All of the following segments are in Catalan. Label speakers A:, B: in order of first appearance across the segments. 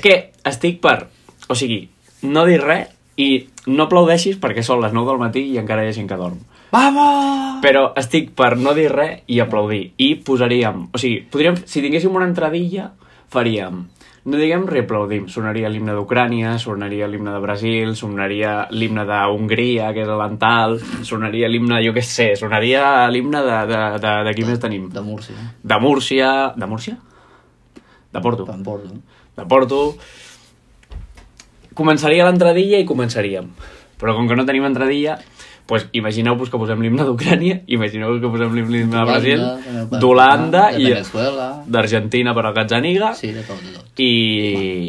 A: que estic per... O sigui, no dir res i no aplaudeixis perquè són les 9 del matí i encara hi ha gent que dorm.
B: Vamos!
A: Però estic per no dir res i aplaudir. I posaríem... O sigui, podríem, si tinguéssim una entradilla, faríem... No diguem reaplaudim. Sonaria l'himne d'Ucrània, sonaria l'himne de Brasil, sonaria l'himne d'Hongria, que és l'ental, sonaria l'himne, jo què sé, sonaria l'himne de, de, de, de qui més tenim.
B: De Múrcia.
A: De Múrcia... De Múrcia? De Porto.
B: Tampoc, no?
A: De Porto. Començaria l'entradilla i començaríem. Però com que no tenim entradilla, pues, imagineu-vos que posem l'himne d'Ucrània, imagineu-vos que posem l'himne de Brasil,
B: D'Holanda,
A: d'Holanda
B: de
A: i
B: Venezuela.
A: d'Argentina per al Gazzaniga
B: Sí, de tot, de tot.
A: i,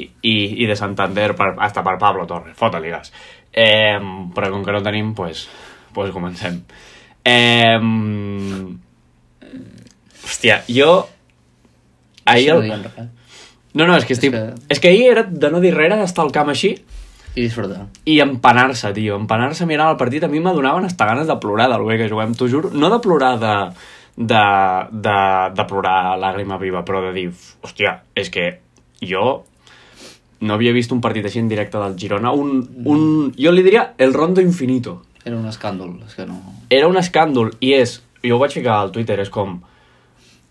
A: i, i de Santander per, hasta per Pablo Torres. Fota-li gas. Eh, però com que no tenim, pues, pues comencem. Eh, hòstia, jo... Ahir
B: Així no
A: el,
B: diguem res.
A: no, no, és que estic...
B: que-
A: És que ahir era de no dir res, era d'estar al camp així
B: I disfrutar.
A: i empanar-se, tio. Empanar-se mirant el partit. A mi m'adonaven hasta ganes de plorar del bé que juguem, t'ho juro. No de plorar de, de, de, de plorar làgrima viva, però de dir, hòstia, és que jo no havia vist un partit així en directe del Girona. Un, un, jo li diria el rondo infinito
B: Era un escàndol, és que no...
A: era un escàndol i és, jo ho vaig ficar al Twitter, és com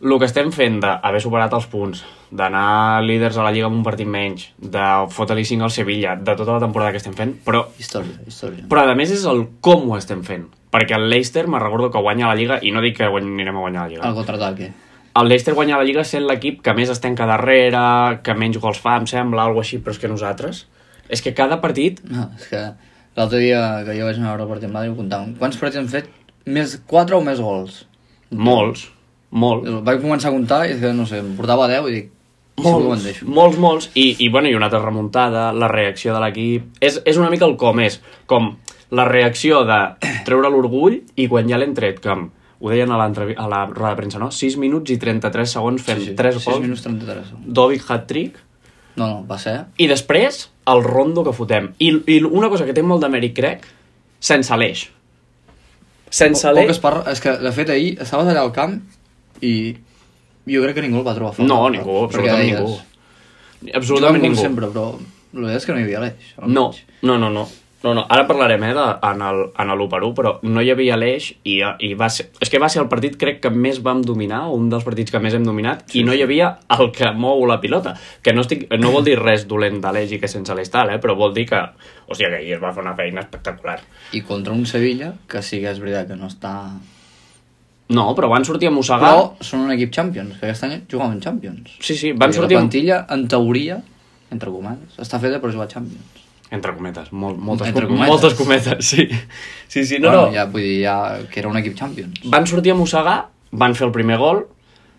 A: el que estem fent d'haver superat els punts, d'anar líders a la Lliga amb un partit menys, de fotre-li 5 al Sevilla, de tota la temporada que estem fent, però,
B: Història, història.
A: però a més és el com ho estem fent. Perquè el Leicester, me recordo que guanya la Lliga, i no dic que guany, anirem a guanyar la Lliga.
B: El contraataque.
A: El Leicester guanya la Lliga sent l'equip que més es tanca darrere, que menys gols fa, em sembla, alguna així, però és que nosaltres... És que cada partit...
B: No, és que l'altre dia que jo vaig anar a veure el partit amb Madrid ho comptàvem. Quants partits hem fet? Més 4 o més gols?
A: Molts, molts,
B: Vaig començar a comptar i és que, no sé, em portava 10 i dic... Segur que
A: Molts,
B: me'n deixo.
A: molts, molts, i, i, bueno, i una altra remuntada, la reacció de l'equip... És, és una mica el com és, com la reacció de treure l'orgull i quan ja l'hem tret, com ho deien a, l'entrevi- a la roda de premsa, no? 6 minuts i 33 segons fent 3
B: 6
A: gols,
B: minuts 33.
A: Dovic hat-trick,
B: No, no, va ser...
A: i després el rondo que fotem. I, i una cosa que té molt de mèrit, crec, sense l'eix. Sense
B: Poc
A: l'eix...
B: es parla... És que, de fet, ahir estaves allà al camp i jo crec que ningú el va trobar a falta.
A: No, ningú,
B: Perquè
A: absolutament ningú.
B: deies,
A: Absolutament
B: "Juguen com
A: ningú.
B: sempre, però el que és que no hi havia l'eix. al
A: No,
B: mig.
A: no, no, no. No, no, ara parlarem, eh, de, en el, en l'1 per 1, però no hi havia l'eix i, i va ser... És que va ser el partit, crec, que més vam dominar, o un dels partits que més hem dominat, sí, i no hi havia el que mou la pilota. Que no, estic, no vol dir res dolent de l'eix i que sense l'eix tal, eh, però vol dir que... O sigui, que ahir es va fer una feina espectacular.
B: I contra un Sevilla, que sí que és veritat que no està...
A: No, però van sortir a mossegar...
B: Però són un equip Champions, que aquest any jugaven Champions.
A: Sí, sí, van
B: I
A: sortir...
B: La
A: amb-
B: plantilla, en teoria, entre comates, està feta per jugar Champions.
A: Entre cometes, molt, moltes,
B: Entre
A: com,
B: cometes.
A: moltes cometes, sí. Sí, sí, no,
B: bueno,
A: no.
B: Ja, vull dir, ja, que era un equip Champions.
A: van sortir a mossegar, van fer el primer gol,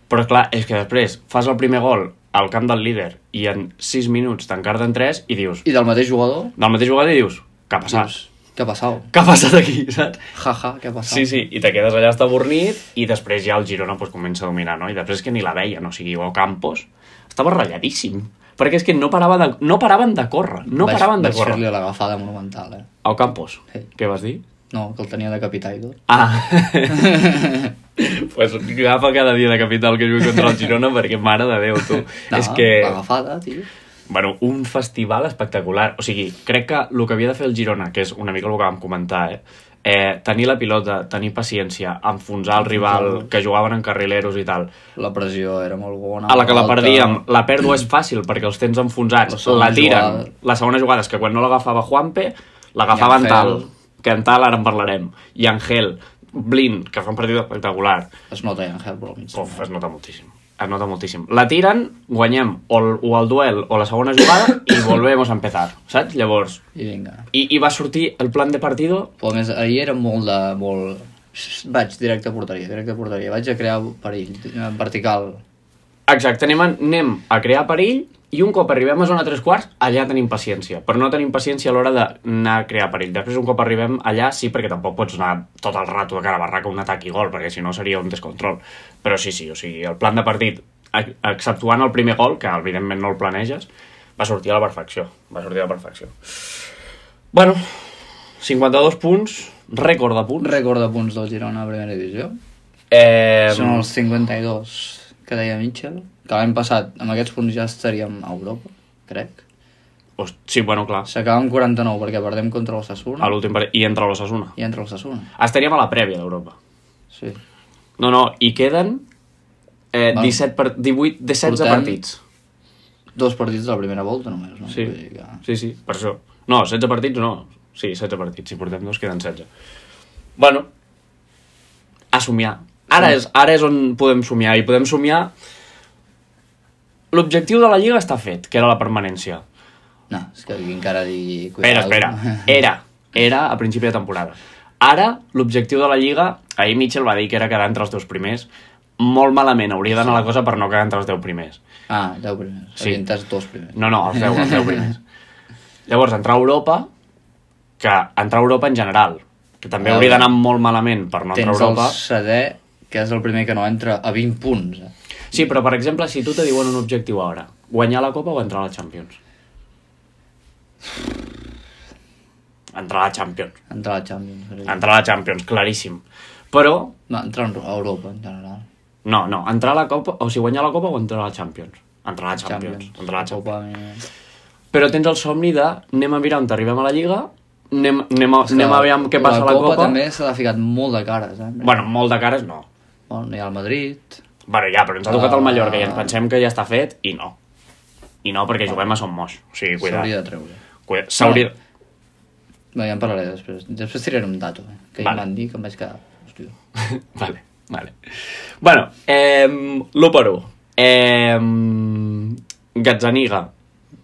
A: però clar, és que després fas el primer gol al camp del líder i en 6 minuts tancar-te en 3 i dius,
B: I del mateix jugador,
A: del mateix jugador i dius, què ha passat?
B: dius, què ha passat?
A: Què ha passat aquí, saps?
B: Ja, ja, què ha passat?
A: Sí, sí, i te quedes allà estabornit i després ja el Girona pues, comença a dominar, no? I després que ni la veia, no? O sigui, o Campos estava ratlladíssim, perquè és que no, parava de, no paraven de córrer, no
B: vaig,
A: paraven de
B: vaig
A: córrer.
B: fer-li l'agafada monumental, eh?
A: Al Campos,
B: Sí.
A: què vas dir?
B: No, que el tenia de capità i tot.
A: Ah. pues agafa cada dia de capital que jugui contra el Girona perquè, mare de Déu, tu.
B: No,
A: és que...
B: L'agafada, Ah, tio.
A: Bueno, un festival espectacular. O sigui, crec que el que havia de fer el Girona, que és una mica el que vam comentar, eh? Eh, tenir la pilota, tenir paciència, enfonsar el rival, que jugaven en carrileros i tal.
B: La pressió era molt bona.
A: A la que la
B: alta.
A: perdíem, la pèrdua és fàcil perquè els tens
B: Ah, tota. La
A: enfonsats,
B: segona
A: la tiren.
B: jugada.
A: La segona jugada és que quan no l'agafava Juanpe, l'agafava en
B: I
A: tal,
B: Angel.
A: que en tal ara en parlarem. I Angel, Blin, que fa un partit espectacular.
B: Es nota, Angel, però mig.
A: Uf, es nota moltíssim. Es nota moltíssim. La tiren, guanyem o el, o el duel o la segona jugada i volvemos a empezar, saps? Llavors,
B: I vinga.
A: i, i va sortir el plan de partido...
B: Però a més, ahir era molt de... Molt... Vaig directe a porteria, directe a porteria. Vaig a crear perill, eh, vertical.
A: Exacte, anem a, anem a crear perill i un cop arribem a zona tres quarts, allà tenim paciència. Però no tenim paciència a l'hora d'anar a crear perill. Després, un cop arribem allà, sí, perquè tampoc pots anar tot el rato de cara a barraca un atac i gol, perquè si no seria un descontrol. Però sí, sí, o sigui, el plan de partit, ex- exceptuant el primer gol, que evidentment no el planeges, va sortir a la perfecció. Va sortir a la perfecció. Bueno, 52 punts, rècord de
B: Un
A: punts.
B: rècord de punts del Girona a primera divisió.
A: Eh,
B: Són els 52 que deia Mitchell, que l'any passat amb aquests punts ja estaríem a Europa, crec.
A: Host, sí, bueno, clar.
B: S'acaba amb 49 perquè perdem contra l'Ossassuna
A: A l'últim partit. I entra l'Ossassuna.
B: i entra l'Ossassuna.
A: Estaríem a la prèvia d'Europa.
B: Sí.
A: No, no, i queden eh,
B: Val.
A: 17 per... 18 de 16
B: Portem-
A: partits.
B: Dos partits de la primera volta només, no?
A: Sí.
B: Vull dir que...
A: Sí, sí, per això. No, 16 partits no. Sí, 16 partits. Si portem dos, queden 16. Bueno, a somiar. Ara és, ara és on podem somiar. I podem somiar... L'objectiu de la Lliga està fet, que era la permanència.
B: No, és que aquí encara digui...
A: Espera, espera. Era. Era a principi de temporada. Ara, l'objectiu de la Lliga... Ahir Mitchell va dir que era quedar entre els dos primers. Molt malament. Hauria d'anar la cosa per no quedar entre els deu primers.
B: Ah, 10 primers.
A: Sí.
B: Sí. Orientats dos primers.
A: No, no, els deu, els deu primers. Llavors, entrar a Europa, que entrar a Europa en general, que també
B: Ah,
A: hauria d'anar molt malament per no entrar a
B: Tens
A: Europa.
B: el sedè, que és el primer que no entra a 20 punts. eh?
A: Sí, però per exemple, si tu te diuen un objectiu ara, guanyar la Copa o entrar a la Champions? Entrar a la Champions.
B: Entrar a la Champions. crec.
A: Entrar a la Champions, claríssim. Però,
B: No, entrar a Europa, en general.
A: no, no, entrar a la Copa, o si guanyar la Copa o entrar a la Champions. Entrar a la Champions. Entrar a la Champions.
B: Copa, Amèrica.
A: Però tens el somni de anem a mirar on arribem a la Lliga, anem, anem, a,
B: És que
A: anem a veure què passa a la Copa.
B: també se l'ha ficat molt de cares, eh?
A: Bueno, molt de cares no.
B: Bueno, hi ha el Madrid...
A: Bueno, ja, però ens ha tocat el
B: Ah.
A: Mallorca i ens pensem que ja està fet i no. I no, perquè juguem a Son Moix. O sigui,
B: S'hauria
A: cuidat.
B: de treure.
A: Cuida- S'hauria...
B: No, ja en parlaré després. Després tiraré un dato, eh? que
A: Vale.
B: vale. em van dir que em vaig quedar... Hòstia.
A: Ah. vale, vale. Bueno, ehm, l'1 per 1. Ehm, Gazzaniga,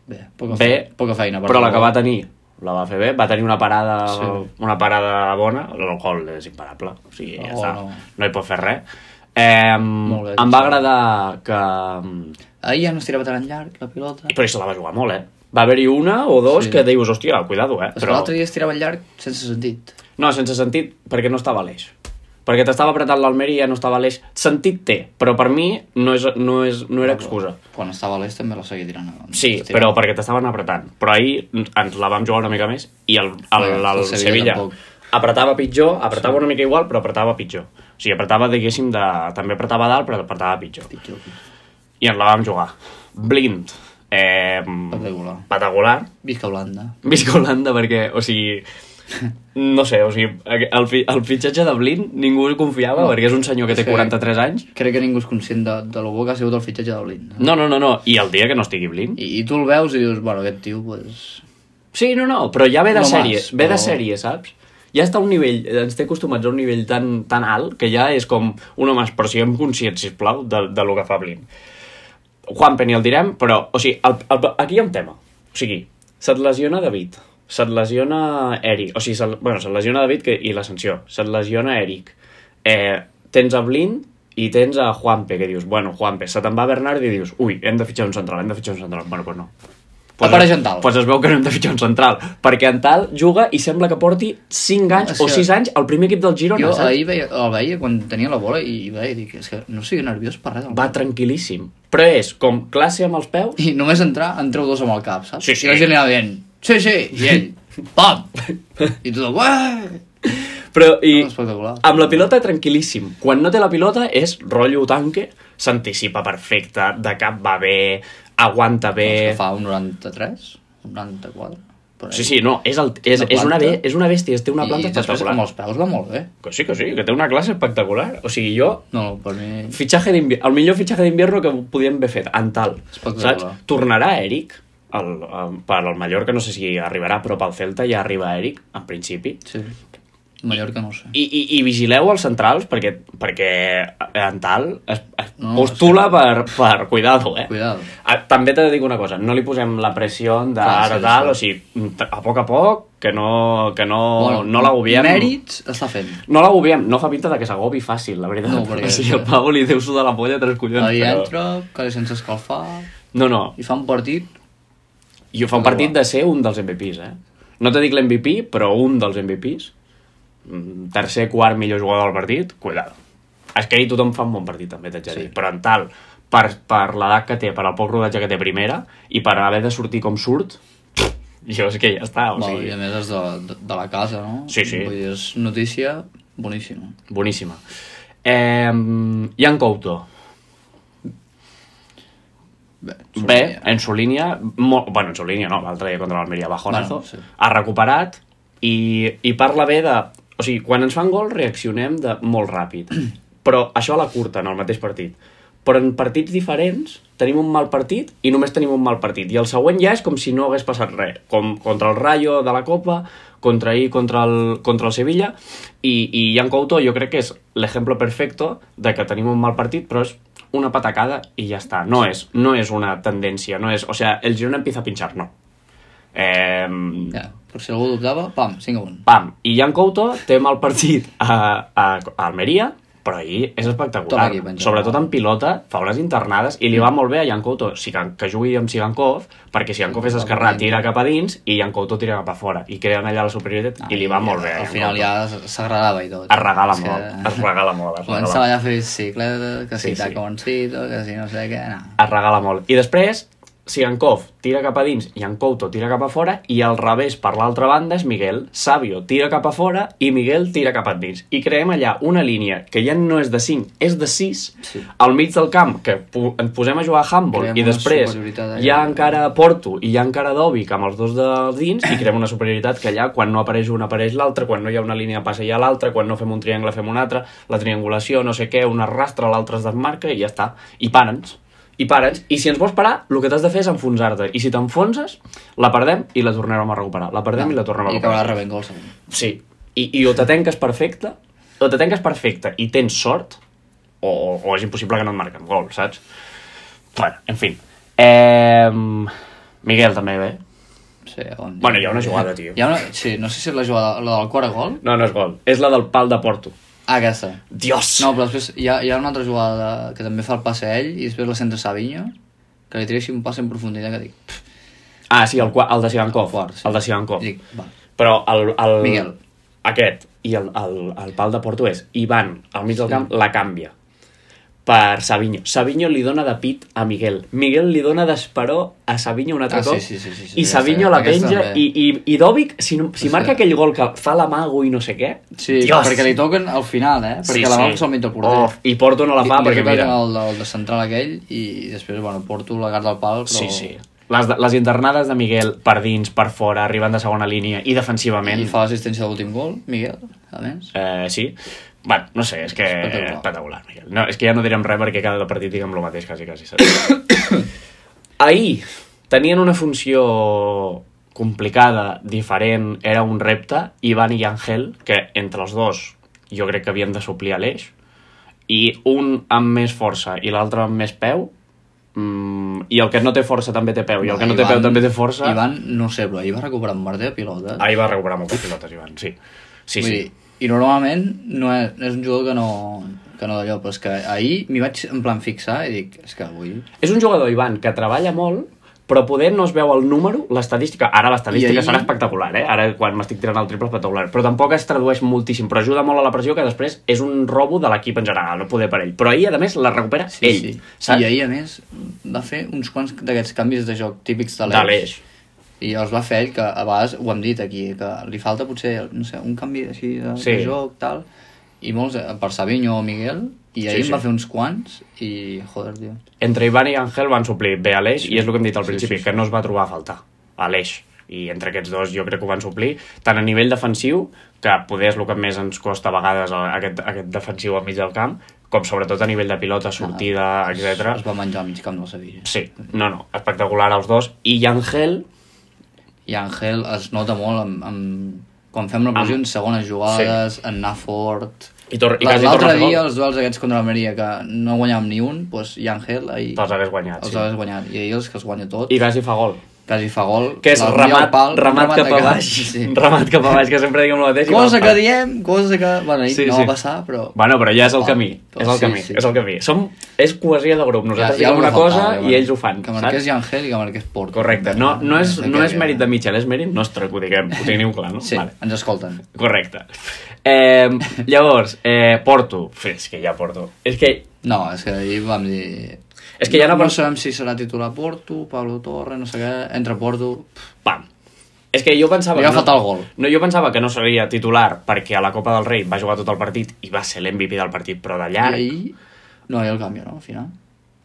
B: Bé, poca,
A: Bé,
B: fe... poca feina.
A: però la que va
B: acabat...
A: tenir la va fer bé, va tenir una parada sí.
B: Sí.
A: una parada bona, el gol és imparable, o sigui, ja
B: Oh,
A: està,
B: no.
A: no hi pot fer res. Ehm,
B: Molt bé,
A: em va
B: Gazzaniga.
A: agradar que...
B: Ahir ja no es tirava tan llarg, la pilota.
A: Però se la va jugar molt, eh? Va haver-hi una o dos sí.
B: Sí.
A: que dius, hòstia, cuidado, eh?
B: Però... que L'altre dia es tirava llarg sense sentit.
A: No, sense sentit, perquè no estava a l'eix. Perquè t'estava apretant l'Almeri i ja no estava a l'eix. Sentit té, però per mi no, és, no, és, no era excusa.
B: Quan estava a l'est també la seguia tirant. a-
A: Sí,
B: es tirava.
A: però perquè t'estaven apretant. Però ahir ens la vam jugar una mica més i el, el, el,
B: Bueno,
A: el
B: el Sevilla
A: Sevilla
B: tampoc.
A: apretava pitjor, apretava una mica igual, però apretava pitjor. O sigui, apretava, diguéssim, de... també apretava a dalt, però apretava pitjor.
B: Pitjor.
A: I ens la vam jugar. Blind. Eh,
B: Espectacular.
A: patagolar.
B: Visca Holanda.
A: Visca Holanda perquè, o sigui... No sé, o sigui, el, fi- el fitxatge de Blin ningú el confiava no. perquè és un senyor que té
B: És que-
A: 43 anys.
B: Crec que ningú és conscient de, de lo bo que ha sigut el fitxatge de Blind.
A: No, no, no, no. I el dia que no estigui Blin?
B: I, I tu el veus i dius, bueno, aquest tio, pues...
A: Sí, no, no, però ja ve de
B: No
A: no
B: mas,
A: sèrie, ve de
B: però-
A: sèrie, saps? Ja està a un nivell, ens té acostumats a un nivell tan, tan alt que ja és com un home, però siguem conscients, sisplau, de, de lo que fa Blin. Juanpe ni el direm, però, o sigui, el, el, aquí hi ha un tema. O sigui, se't lesiona David, se't lesiona Eric, o sigui, se't, bueno, se't lesiona David que, i la sanció, se't lesiona Eric, eh, tens a Blin i tens a Juanpe, que dius, bueno, Juanpe, se te'n va Bernard i dius, ui, hem de fitxar un central, hem de fitxar un central. Bueno, doncs no.
B: Apareix en Tal.
A: Pues es veu que no hem de fitxar un central, perquè en Tal juga i sembla que porti 5 anys
B: O sigui,
A: o 6 anys al primer equip del Girona,
B: Jo
A: saps?
B: ahir veia, el veia quan tenia la bola i, i veia, dic, és que no estic nerviós per res.
A: Va tranquil·líssim. Però és com classe amb els peus,
B: I només entrar, en treu dos amb el cap, saps?
A: Sí, sí.
B: I la gent li anava dient, sí, sí, i ell, pam! I tothom, ué!
A: però i...
B: I... Espectacular.
A: Amb la pilota tranquil·líssim. Quan no té la pilota és rotllo tanque, s'anticipa perfecte, de cap va bé, aguanta
B: És que
A: bé...
B: fa un 93, un 94. Però
A: Sí, sí, no, és, el, és, és, una, bé, és una bèstia, és, té una planta
B: I després
A: espectacular.
B: amb els peus va molt bé.
A: Que sí, que sí, que té una classe espectacular. O sigui, jo...
B: No, no, per mi...
A: Fitxatge d'invierno, el millor fitxatge d'invierno que podíem haver fet, en tal.
B: Espectacular.
A: Saps? Tornarà Eric, el, el, per al Mallorca, no sé si arribarà, però pel Celta ja arriba Eric, en principi.
B: Sí. Mallorca no ho sé.
A: I, i, i vigileu els centrals perquè, perquè eh, en tal es, es
B: No,
A: postula per, per cuidado, eh?
B: Cuidado.
A: Ah, També t'he de dir una cosa, no li posem la pressió de
B: Clar,
A: ara
B: sí,
A: tal,
B: sí.
A: o sigui, t- a poc a poc, que no, que no, no l'agobiem.
B: Mèrits està fent.
A: No l'agobiem, no fa pinta de que s'agobi fàcil, la veritat.
B: No, perquè-
A: O sigui, el Pavo li deu sudar la polla tres collons.
B: Ahir
A: però-
B: entra, que és sense escalfar,
A: No, no,
B: i fa un partit...
A: i fa un partit de ser un dels MVPs, eh? No te dic l'MVP, però un dels MVPs. Mm, Tercer, quart, millor jugador del partit, cuidado. És que ahir tothom fa un bon partit, també, t'haig de dir.
B: Sí.
A: Però en tal, per, per l'edat que té, per el poc rodatge que té primera, i per haver de sortir com surt, jo és que ja està, o
B: Val, I
A: sigui,
B: a més és de, de, de la casa, no?
A: Ah, Sí, sí.
B: Vull dir, és notícia boníssima.
A: boníssima. Eh, Jan Couto,
B: Bé,
A: Bé, en su línia, molt, bueno, en su línia no, l'altre dia contra l'Almeria Bajonazo,
B: Bueno, sí.
A: ha recuperat i, i parla bé de... O sigui, quan ens fan gol reaccionem de molt ràpid, però això a la curta, en el mateix partit. Però en partits diferents tenim un mal partit i només tenim un mal partit. I el següent ja és com si no hagués passat res. Com contra el Rayo de la Copa, contra ahir, contra el, contra el Sevilla, i, i Jan Couto jo crec que és l'exemple perfecto de que tenim un mal partit, però és una patacada i ja està. No és, no és una tendència, no és... O sigui, el Girona empieza a pinchar, no. Eh,
B: Ja, per si algú dubtava, pam, 5 a 1.
A: Pam, i Jan Couto té mal partit a, a, a Almeria, però ahir és espectacular.
B: Toma aquí, Benjamin.
A: Sobretot en pilota, fa unes internades, i li va molt bé a Jan Couto Sigan, que jugui amb Sigankov, perquè Sigankov és esquerrà, tira cap a dins, i Jan Couto tira cap a fora, i creen allà la superioritat, i li va molt bé. a
B: Al
A: Jan
B: final
A: Couto.
B: ja s'agradava i tot.
A: Es regala
B: És que-
A: molt, es regala molt. Es
B: Comença
A: regala,
B: allà a fer bicicleta, que si
A: Sí,
B: sí,
A: sí.
B: taconcito, que si no sé què, no.
A: es regala molt. I després, Sigankov tira cap a dins, Jan Couto tira cap a fora, i al revés, per l'altra banda, és Miguel. Sabio tira cap a fora i Miguel tira cap a dins. I creem allà una línia que ja no és de 5, és de 6,
B: Sí.
A: al mig del camp, que po- ens posem a jugar a handball,
B: Creem
A: i
B: una
A: després
B: superioritat
A: hi ha
B: allà.
A: encara Porto i hi ha encara Dobic amb els dos de dins, i creem una superioritat que allà, quan no apareix un, apareix l'altre, quan no hi ha una línia de passa hi ha l'altre, quan no fem un triangle fem un altre, la triangulació, no sé què, un arrastra, l'altre es desmarca, i ja està. I para'ns. I para'ns. I si ens vols parar, el que t'has de fer és enfonsar-te. I si t'enfonses, la perdem i la tornarem a recuperar. La perdem i la tornem a
B: I
A: recuperar.
B: acabarà rebent gol segur.
A: Sí, i, i o te tanques perfecte, o te tanques perfecte i tens sort, o, o, o és impossible que no et marquen gol, saps? Bueno, en fi. Eh, Miguel també bé.
B: Sí, on...
A: Bueno, hi ha una jugada, tio.
B: Hi ha una... Sí, no sé si és la jugada, la del quart gol.
A: No, no és gol. És la del pal de Porto.
B: Ah, aquesta.
A: Dios!
B: No, però després hi ha, hi ha una altra jugada que també fa el passe a ell i després la centra Savinho, que li tira així un passe en profunditat que dic... pff,
A: Ah, sí, el, qua- el de Sigankov.
B: Quart, sí.
A: El de Sigankov.
B: dic va.
A: Però el... el
B: Miguel.
A: Aquest i el, el, el pal de Porto és Ivan, al mig del camp, la canvia per Savinho. Savinho li dona de pit a Miguel. Miguel li dona d'esperó a Savinho un altre
B: Ah, sí,
A: cop.
B: sí, sí, sí, sí,
A: I
B: aquesta-
A: Savinho la
B: aquesta
A: penja
B: també.
A: i, i, i Dovic, si, no- si
B: Sí.
A: marca aquell gol que fa l'amago i no sé què...
B: Sí,
A: Dios!
B: perquè li toquen al final, eh? Perquè la va posar al mig del porter.
A: Oh, I Porto no la fa
B: Li-
A: perquè,
B: Li
A: mira...
B: toquen el, el de central aquell i després, bueno, porto la garda al pal, però...
A: Sí, sí. Les, de- les internades de Miguel per dins, per fora, arribant de segona línia i defensivament...
B: I fa l'assistència de l'últim gol, Miguel, a més.
A: Eh, sí. Bueno, no sé, és que...
B: Espectacular.
A: Espectacular, Miguel. No, és que ja no direm res perquè cada partit diguem el mateix, quasi, quasi. saps? Ahir tenien una funció complicada, diferent, era un repte, Ivan i Ángel, que entre els dos jo crec que havien de suplir a l'eix, i un amb més força i l'altre amb més peu, mm, i el que no té força també té peu, i el que no té peu també té força...
B: Ivan, no sé, però ahir va recuperar un merder de pilota. eh.
A: Ahir va recuperar moltes pilotes, Ivan, sí. Sí,
B: Vull
A: sí.
B: dir, I normalment no és, és un jugador que no, que no d'allò, però és que ahir m'hi vaig en plan fixar i dic, és que avui...
A: És un jugador, Ivan, que treballa molt, però poder no es veu el número, l'estadística... Ara
B: I
A: l'estadística
B: ahir-
A: ahir... serà espectacular, eh? Ara, quan m'estic tirant el triple, espectacular. Però tampoc es tradueix moltíssim, però ajuda molt a la pressió, que després és un robo de l'equip en general, no poder per ell. Però ahir, a més, la recupera sí, ell, sí. saps?
B: I ahir, a més, va fer uns quants d'aquests canvis de joc típics de
A: De l'eix.
B: l'Eix. I els va fer ell, que a vegades ho hem dit aquí, que li falta potser, no sé, un canvi així de,
A: Sí.
B: sí. de joc, tal, i molts eh, per Savinho o Miguel, i ahir sí,
A: sí.
B: sí. en va fer uns quants, i joder, tio.
A: Entre Ivan i Ángel van suplir bé a l'eix, i és el que hem dit al
B: Sí,
A: principi,
B: sí, sí.
A: que no es va trobar a faltar a l'eix. I entre aquests dos jo crec que ho van suplir, tant a nivell defensiu, que poder és el que més ens costa a vegades eh, aquest, aquest defensiu al mig del camp, com sobretot a nivell de
B: Ah.
A: pilota, sortida, etc.
B: Es va menjar al mig camp del Sevilla.
A: Sí, no, no, espectacular els dos. I Ángel,
B: I Ángel es nota molt amb, amb, quan fem la pressió en segones jugades, sí. en anar fort...
A: I tor- i
B: La-
A: quasi torna a
B: L'altre
A: fer
B: dia,
A: gol.
B: els duels aquests contra l'Almeria, que no guanyàvem ni un, doncs i Ángel ahir
A: te'ls hagués guanyat,
B: els
A: sí.
B: hagués guanyat. I ahir els que els guanya tot,
A: I quasi fa gol.
B: quasi fa gol.
A: Que és
B: la-
A: remat,
B: al pal,
A: remat, cap a
B: de
A: baix.
B: Sí.
A: Remat cap a baix, que sempre diguem el mateix. i va
B: Cosa
A: al
B: que
A: pal.
B: diem, cosa que... Bueno, ahir
A: Sí,
B: sí, no
A: sí.
B: va passar, però...
A: Bueno, però ja és el
B: Ah,
A: camí,
B: però
A: és el
B: sí,
A: camí,
B: sí.
A: és el camí. Som, és cohesió de grup, nosaltres
B: hi ha
A: diem
B: algo
A: una
B: que
A: cosa
B: faltava,
A: i
B: eh, bueno.
A: ells ho fan,
B: Que marqués
A: saps?
B: i Ángel i que marqués Porto.
A: Correcte, no, no, és,
B: Crec
A: no
B: que-
A: és mèrit de Mitchell, és mèrit nostre, que ho diguem, ho teniu clar, no?
B: Sí, ens escolten.
A: Correcte. Eh, llavors, eh, Porto, Fe, és que ja Porto, és que
B: No, és que ahir vam dir...
A: És que hi ha una
B: no, no
A: persona-
B: sabem si serà titular Porto, Pablo Torre, no sé què, entra Porto... Pff,
A: pam. És que jo pensava...
B: Li va
A: que no-
B: faltar el gol.
A: No, jo pensava que no seria titular perquè a la Copa del Rei va jugar tot el partit i va ser l'MVP del partit, però de
B: I
A: llarg...
B: ahir... No, ahir el canvia, no, al final.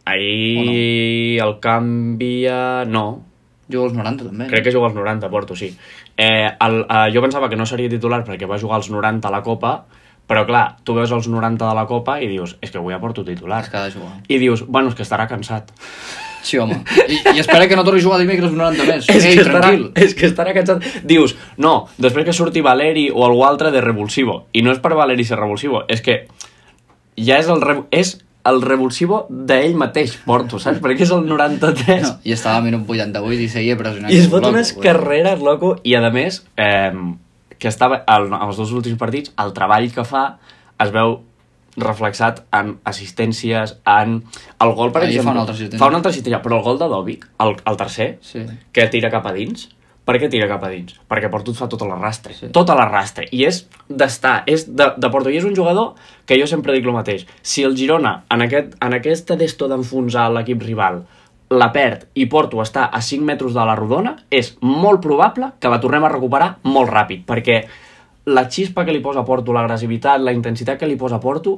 A: Ahir el canvi a... No,
B: Juga als 90 també.
A: Crec que juga als 90, Porto, sí. Eh, el, eh, jo pensava que no seria titular perquè va jugar als 90 a la Copa, però clar, tu veus els 90 de la Copa i dius, és que avui ja porto titular.
B: És que ha de jugar.
A: I dius, bueno, és que estarà cansat.
B: Sí, home. I, i espera que no torni a jugar dimecres 90 més.
A: és,
B: Ei,
A: que estarà,
B: tranquil.
A: és que estarà cansat. Dius, no, després que surti Valeri o algú altre de revulsivo. I no és per Valeri ser revulsivo, és que ja és el, re, és el revulsivo d'ell mateix, Porto, saps? Perquè és el 93.
B: No, I estava a minut 88 i seguia pressionant.
A: I es
B: com un
A: fot unes
B: loco, eh? güey.
A: carreres, loco, i a més, eh, que estava el, els dos últims partits, el treball que fa es veu reflexat en assistències, en... El gol, per
B: Ahir fa
A: exemple...
B: una altra assistència.
A: Fa una altra assistència, però el gol de Dobic, el, el tercer,
B: Sí.
A: que tira cap a dins, per què tira cap a dins? Perquè Porto et fa tot l'arrastre, sí. tot l'arrastre, i és d'estar, és de, de Porto, i és un jugador que jo sempre dic el mateix, si el Girona en, aquest, en aquesta desto d'enfonsar l'equip rival la perd i Porto està a 5 metres de la rodona, és molt probable que la tornem a recuperar molt ràpid, perquè la xispa que li posa Porto, l'agressivitat, la intensitat que li posa Porto,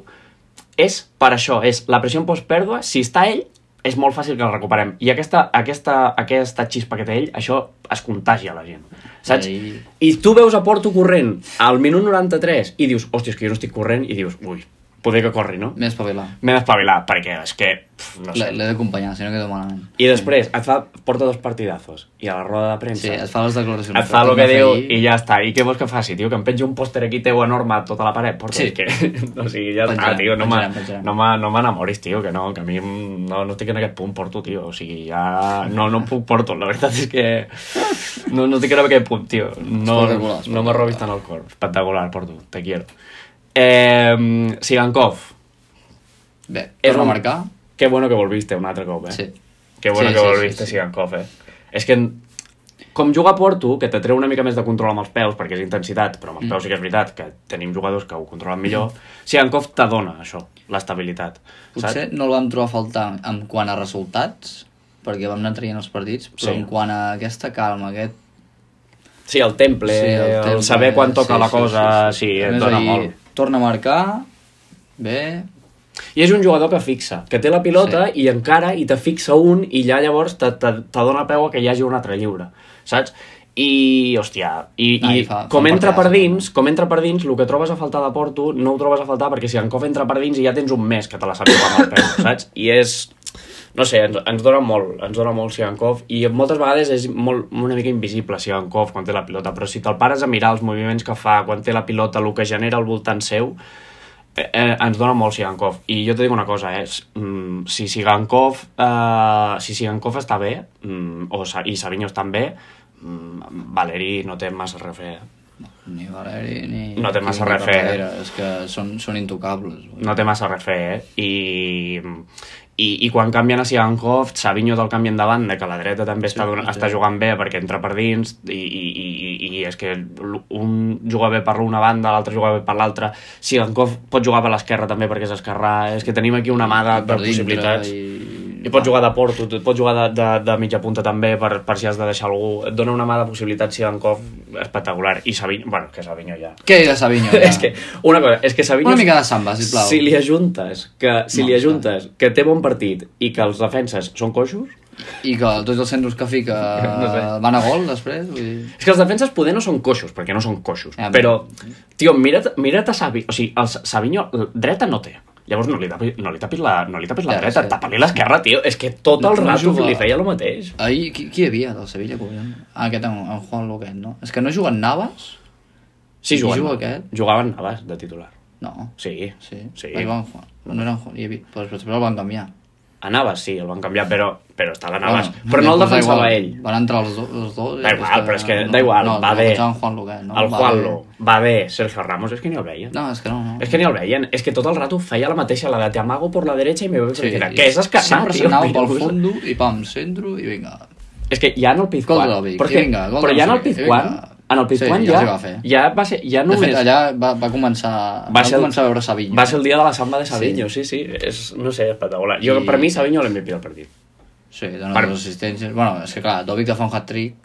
A: és per això, és la pressió en postpèrdua, si està ell, és molt fàcil que el recuperem. I aquesta, aquesta, aquesta xispa que té ell, això es contagia a la gent. Saps? I,
B: Ahí-
A: I tu veus a Porto corrent al minut 93 i dius, hòstia, és que jo no estic corrent, i dius, ui, poder que corri, no?
B: Més papelar.
A: M'he d'espavilar, perquè és que... Pf, no sé.
B: L'he l'he d'acompanyar, si no quedo malament.
A: I després et fa, porta dos partidazos i a la roda de premsa
B: Sí, et fa les declaracions.
A: et fa el que
B: vas
A: diu
B: ahir,
A: i ja està. I què vols que faci, tio? Que em penjo un pòster aquí teu enorme a tota la paret? Porto,
B: Sí.
A: sí. Que... o sigui, ja està,
B: Penjarem,
A: tio. No me-
B: penjarem, penjarem.
A: no me- no m'enamoris, tio, que no, que a mi mm, no, no estic en aquest punt, porto, tio. O sigui, ja... No, no puc porto. La veritat és que no, no estic en aquest punt, tio. No,
B: Espectacular,
A: no me robis tant el cor. Espectacular, porto. Te quiero. Eh, Sigankov.
B: Bé,
A: és
B: torna
A: un-
B: a marcar.
A: Qué bueno que volviste un altre cop, eh?
B: Sí.
A: Qué bueno
B: Sí,
A: que
B: sí,
A: volviste,
B: sí, sí.
A: Sigankov, eh? És que en- com juga Porto, que te treu una mica més de control amb els peus, perquè és intensitat, però amb els peus sí que és veritat que tenim jugadors que ho controlen millor, Sigankov te dona això, l'estabilitat. Saps?
B: Potser no el vam trobar a faltar en quant a resultats, perquè vam anar traient els partits, però
A: Sí.
B: en quant a aquesta calma, aquest...
A: Sí, el temple,
B: Sí, el temple,
A: saber quan
B: sí,
A: toca la
B: sí,
A: cosa,
B: sí,
A: sí,
B: sí. A
A: et
B: més,
A: dona
B: ahir
A: molt.
B: Torna a marcar, bé,
A: I és un jugador que fixa, que té la pilota sí. i encara i te fixa un i ja llavors te, te, te dona peu a que hi hagi un altre lliure, saps? I, hòstia, i,
B: Ah,
A: i
B: i fa- fa
A: com
B: un eh?
A: entra per
B: partidazo,
A: dins, com entra per dins, el que trobes a faltar de Porto no ho trobes a faltar perquè si en Kof entra per dins i ja tens un mes que te la saps jugar amb el peu, saps? I és... No sé, ens, ens dona molt, ens dona molt Sigankov i moltes vegades és molt, una mica invisible Sigankov quan té la pilota, però si te'l pares a mirar els moviments que fa, quan té la pilota, el que genera al voltant seu, eh, eh, ens dona molt Sigankov. I jo te dic una cosa, eh? s- Mm, si Sigankov, eh, si Sigankov està bé, mm, o, Sa- i Savinho estan bé, mm, Valeri no té massa refer.
B: ni Valeri ni...
A: No té massa
B: ni
A: res a fer.
B: Carrera, És que són, són intocables.
A: No té massa refer, eh? I, i, i quan canvien a Sigankov, Savinho te'l canvien de banda, que la dreta també està, donant, està jugant bé perquè entra per dins, i, i, i, i és que l- un juga bé per una banda, l'altre juga bé per l'altra. Sigankov pot jugar per l'esquerra també perquè és esquerrà. És que tenim aquí una mà de, de
B: Per dintre
A: possibilitats.
B: I...
A: I pots jugar de porto, tu- pots jugar de, de, de mitja punta també per, per si has de deixar algú. Et dona una mà de possibilitats Sigankov espectacular. I Savinho, bueno, que Savinho ja...
B: Què de Savinho?
A: ja. és que, una cosa, és que Savinho...
B: Una mica de samba, sisplau.
A: Si li ajuntes, que, si
B: No,
A: li
B: està.
A: ajuntes que té bon partit i que els defenses són coixos,
B: I que tots els centres que fica
A: No sé.
B: van a gol després, vull dir...
A: és que els defenses poder no són coixos, perquè no són coixos,
B: Ah, bé.
A: però, tio, mira't, mira't a Savinho, o sigui, el Sa- Savinho l- dreta no té, llavors no li, tapi, no li tapis la, no li tapis la
B: Ja,
A: dreta,
B: sí.
A: tapa-li l'esquerra, tio, és que tot el
B: No
A: rato
B: juga.
A: li feia el mateix.
B: Ahir, qui, qui hi havia del Sevilla, collons? Ah, aquest, en, en Juan Loquet, no? És que no juguen Navas?
A: Sí,
B: I
A: jugaven,
B: juga aquest?
A: jugaven Navas de titular.
B: No.
A: Sí.
B: Sí.
A: Sí.
B: Va jugar en Juan. No era en Juan, hi havia... Però després el van canviar.
A: A Navas sí, el van canviar, però, però estava Navas.
B: Bueno,
A: Ah, però no el
B: doncs da
A: defensava
B: igual.
A: ell.
B: Van entrar els, do, els dos... i
A: Da igual,
B: després-
A: però és que da igual,
B: no,
A: va
B: no,
A: bé.
B: No, en Juan Loquet, no?
A: El
B: Va
A: Juanlo,
B: bé.
A: va bé, Sergio Ramos, és que ni el veien.
B: No, és que no, no.
A: És que ni el veien, és que tot el rato feia la mateixa, la de te amago por la derecha i me voy por la izquierda. Que és escarnar,
B: Sempre
A: tio.
B: s'anava
A: mira,
B: pel
A: pues-
B: fondo i pam, centro i vinga.
A: És que ja en el
B: Gol
A: Pizjuán...
B: de l'Òbic,
A: perquè-
B: i vinga, gol
A: però
B: de
A: ja en
B: no
A: el
B: sé què, i
A: Pizjuán,
B: vinga.
A: en el Pizjuán
B: Sí, ja
A: ja,
B: els hi va fer.
A: ja va ser, ja
B: De
A: només...
B: fet, allà va, va començar... Va,
A: ser el-
B: començar a veure Savinho.
A: Va ser el dia de la samba de Savinho, sí, sí. És, no sé, espectacular. Jo,
B: I-
A: per mi, Savinho l'MVP del partit.
B: Sí, dona
A: Per-
B: per... dues assistències. Bueno, és que clar, Dovic te fa un hat-trick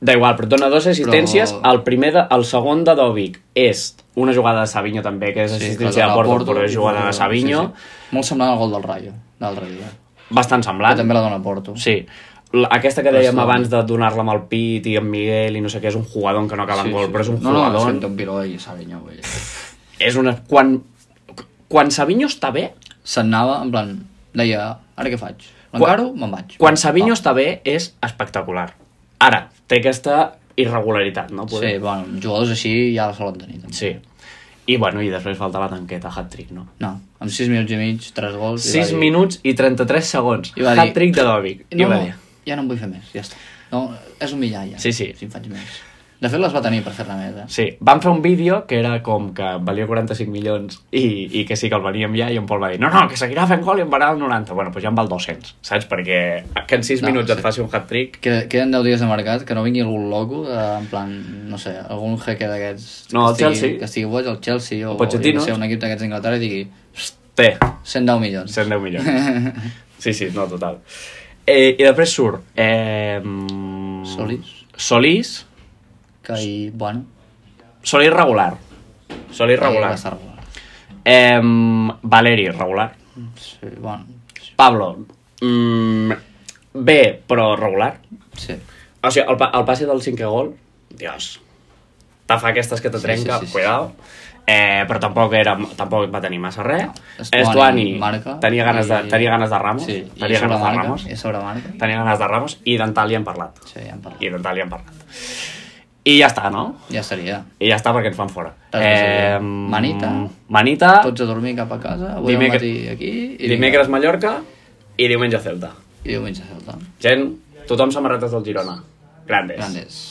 A: Da igual, però et dona dues assistències.
B: Però-
A: Però... El, primer de, el segon de Dovic és una jugada de Savinho també, que és
B: Sí, que
A: assistència
B: dona
A: de
B: a
A: Porto, però és
B: i
A: jugada de
B: sí,
A: Savinho.
B: sí. Molt semblant al gol del Rayo, l'altre dia.
A: Bastant
B: Que
A: semblant.
B: també la dona a Porto.
A: Sí. L- Aquesta que dèiem
B: Bastant.
A: abans de donar-la amb el pit i amb Miguel i no sé què, és un jugador que no acaba en gol, però és un eh.
B: no, no,
A: jugador...
B: No, no, un piró i Savinho, vull dir.
A: és una... Quan, quan Savinho està bé,
B: S'anava, en plan, deia, ara què faig? L'encaro, me'n vaig.
A: quan
B: Ah.
A: Savinho està bé és espectacular. Ara, té aquesta irregularitat, no?
B: Sí, bueno, jugadors així ja la solen tenir. També.
A: sí. I bueno, i després falta la tanqueta, hat-trick, no?
B: No, amb 6 minuts i mig, 3 gols... i va
A: 6
B: dir,
A: minuts i 33 segons.
B: I va dir-
A: Hat-trick de Dovic. I
B: No,
A: va
B: no,
A: dir...
B: ja no en vull fer més, ja està. No, és humillar ja.
A: Sí, sí.
B: Si en faig més. De fet, les va tenir per fer-ne més, eh?
A: Sí, van fer un vídeo que era com que valia 45 milions i, i que sí que el veníem ja i en Pol va dir no, no, que seguirà fent gol i en varà el 90. Bueno, doncs ja en val 200, saps? Perquè que en 6
B: No,
A: no, minuts
B: sí.
A: et faci un hat-trick...
B: Que, queden 10 dies de mercat, que no vingui algun loco, de, en plan, no sé, algun jeque d'aquests...
A: No, el
B: que estigui-
A: Chelsea.
B: Que estigui boig, el Chelsea o,
A: Pochettino.
B: jo què sé, un equip d'aquests d'Inglaterra i digui
A: Té,
B: 110 milions.
A: 110 milions. Sí, sí, no, total. Eh, I després surt... Eh, mm,
B: Solís.
A: Solís.
B: Que hi, bueno...
A: Solís regular. Solís
B: Va
A: regular.
B: estar regular.
A: Eh, Valeri, regular.
B: Sí, bueno,
A: Pablo, mm, bé, però regular.
B: sí.
A: O sigui, el, pa el passe del cinquè gol, dios, te fa aquestes que te trenca, sí, sí, sí, cuidao. Eh, però tampoc, era, tampoc va tenir massa res.
B: Estuani
A: Estuani,
B: marca,
A: tenia, ganes de,
B: i-
A: tenia ganes de Ramos.
B: Sí, i
A: tenia ganes
B: sobre
A: de
B: marca,
A: Ramos.
B: i sobre marca.
A: Tenia ganes de Ramos i d'Antal hi hem parlat.
B: Sí, ja en parlem.
A: I d'Antal hi hem parlat. I ja està, no?
B: Ja seria.
A: I ja està perquè ens fan fora.
B: Res més a dir. Eh, Manita.
A: Manita,
B: Tots a dormir cap a casa, avui al
A: Ah. Dimecres-
B: matí aquí... I
A: dimecres Mallorca i diumenge Celta.
B: I diumenge a Celta.
A: Gent, tothom samarretes del Girona. Grandes.
B: Grandes.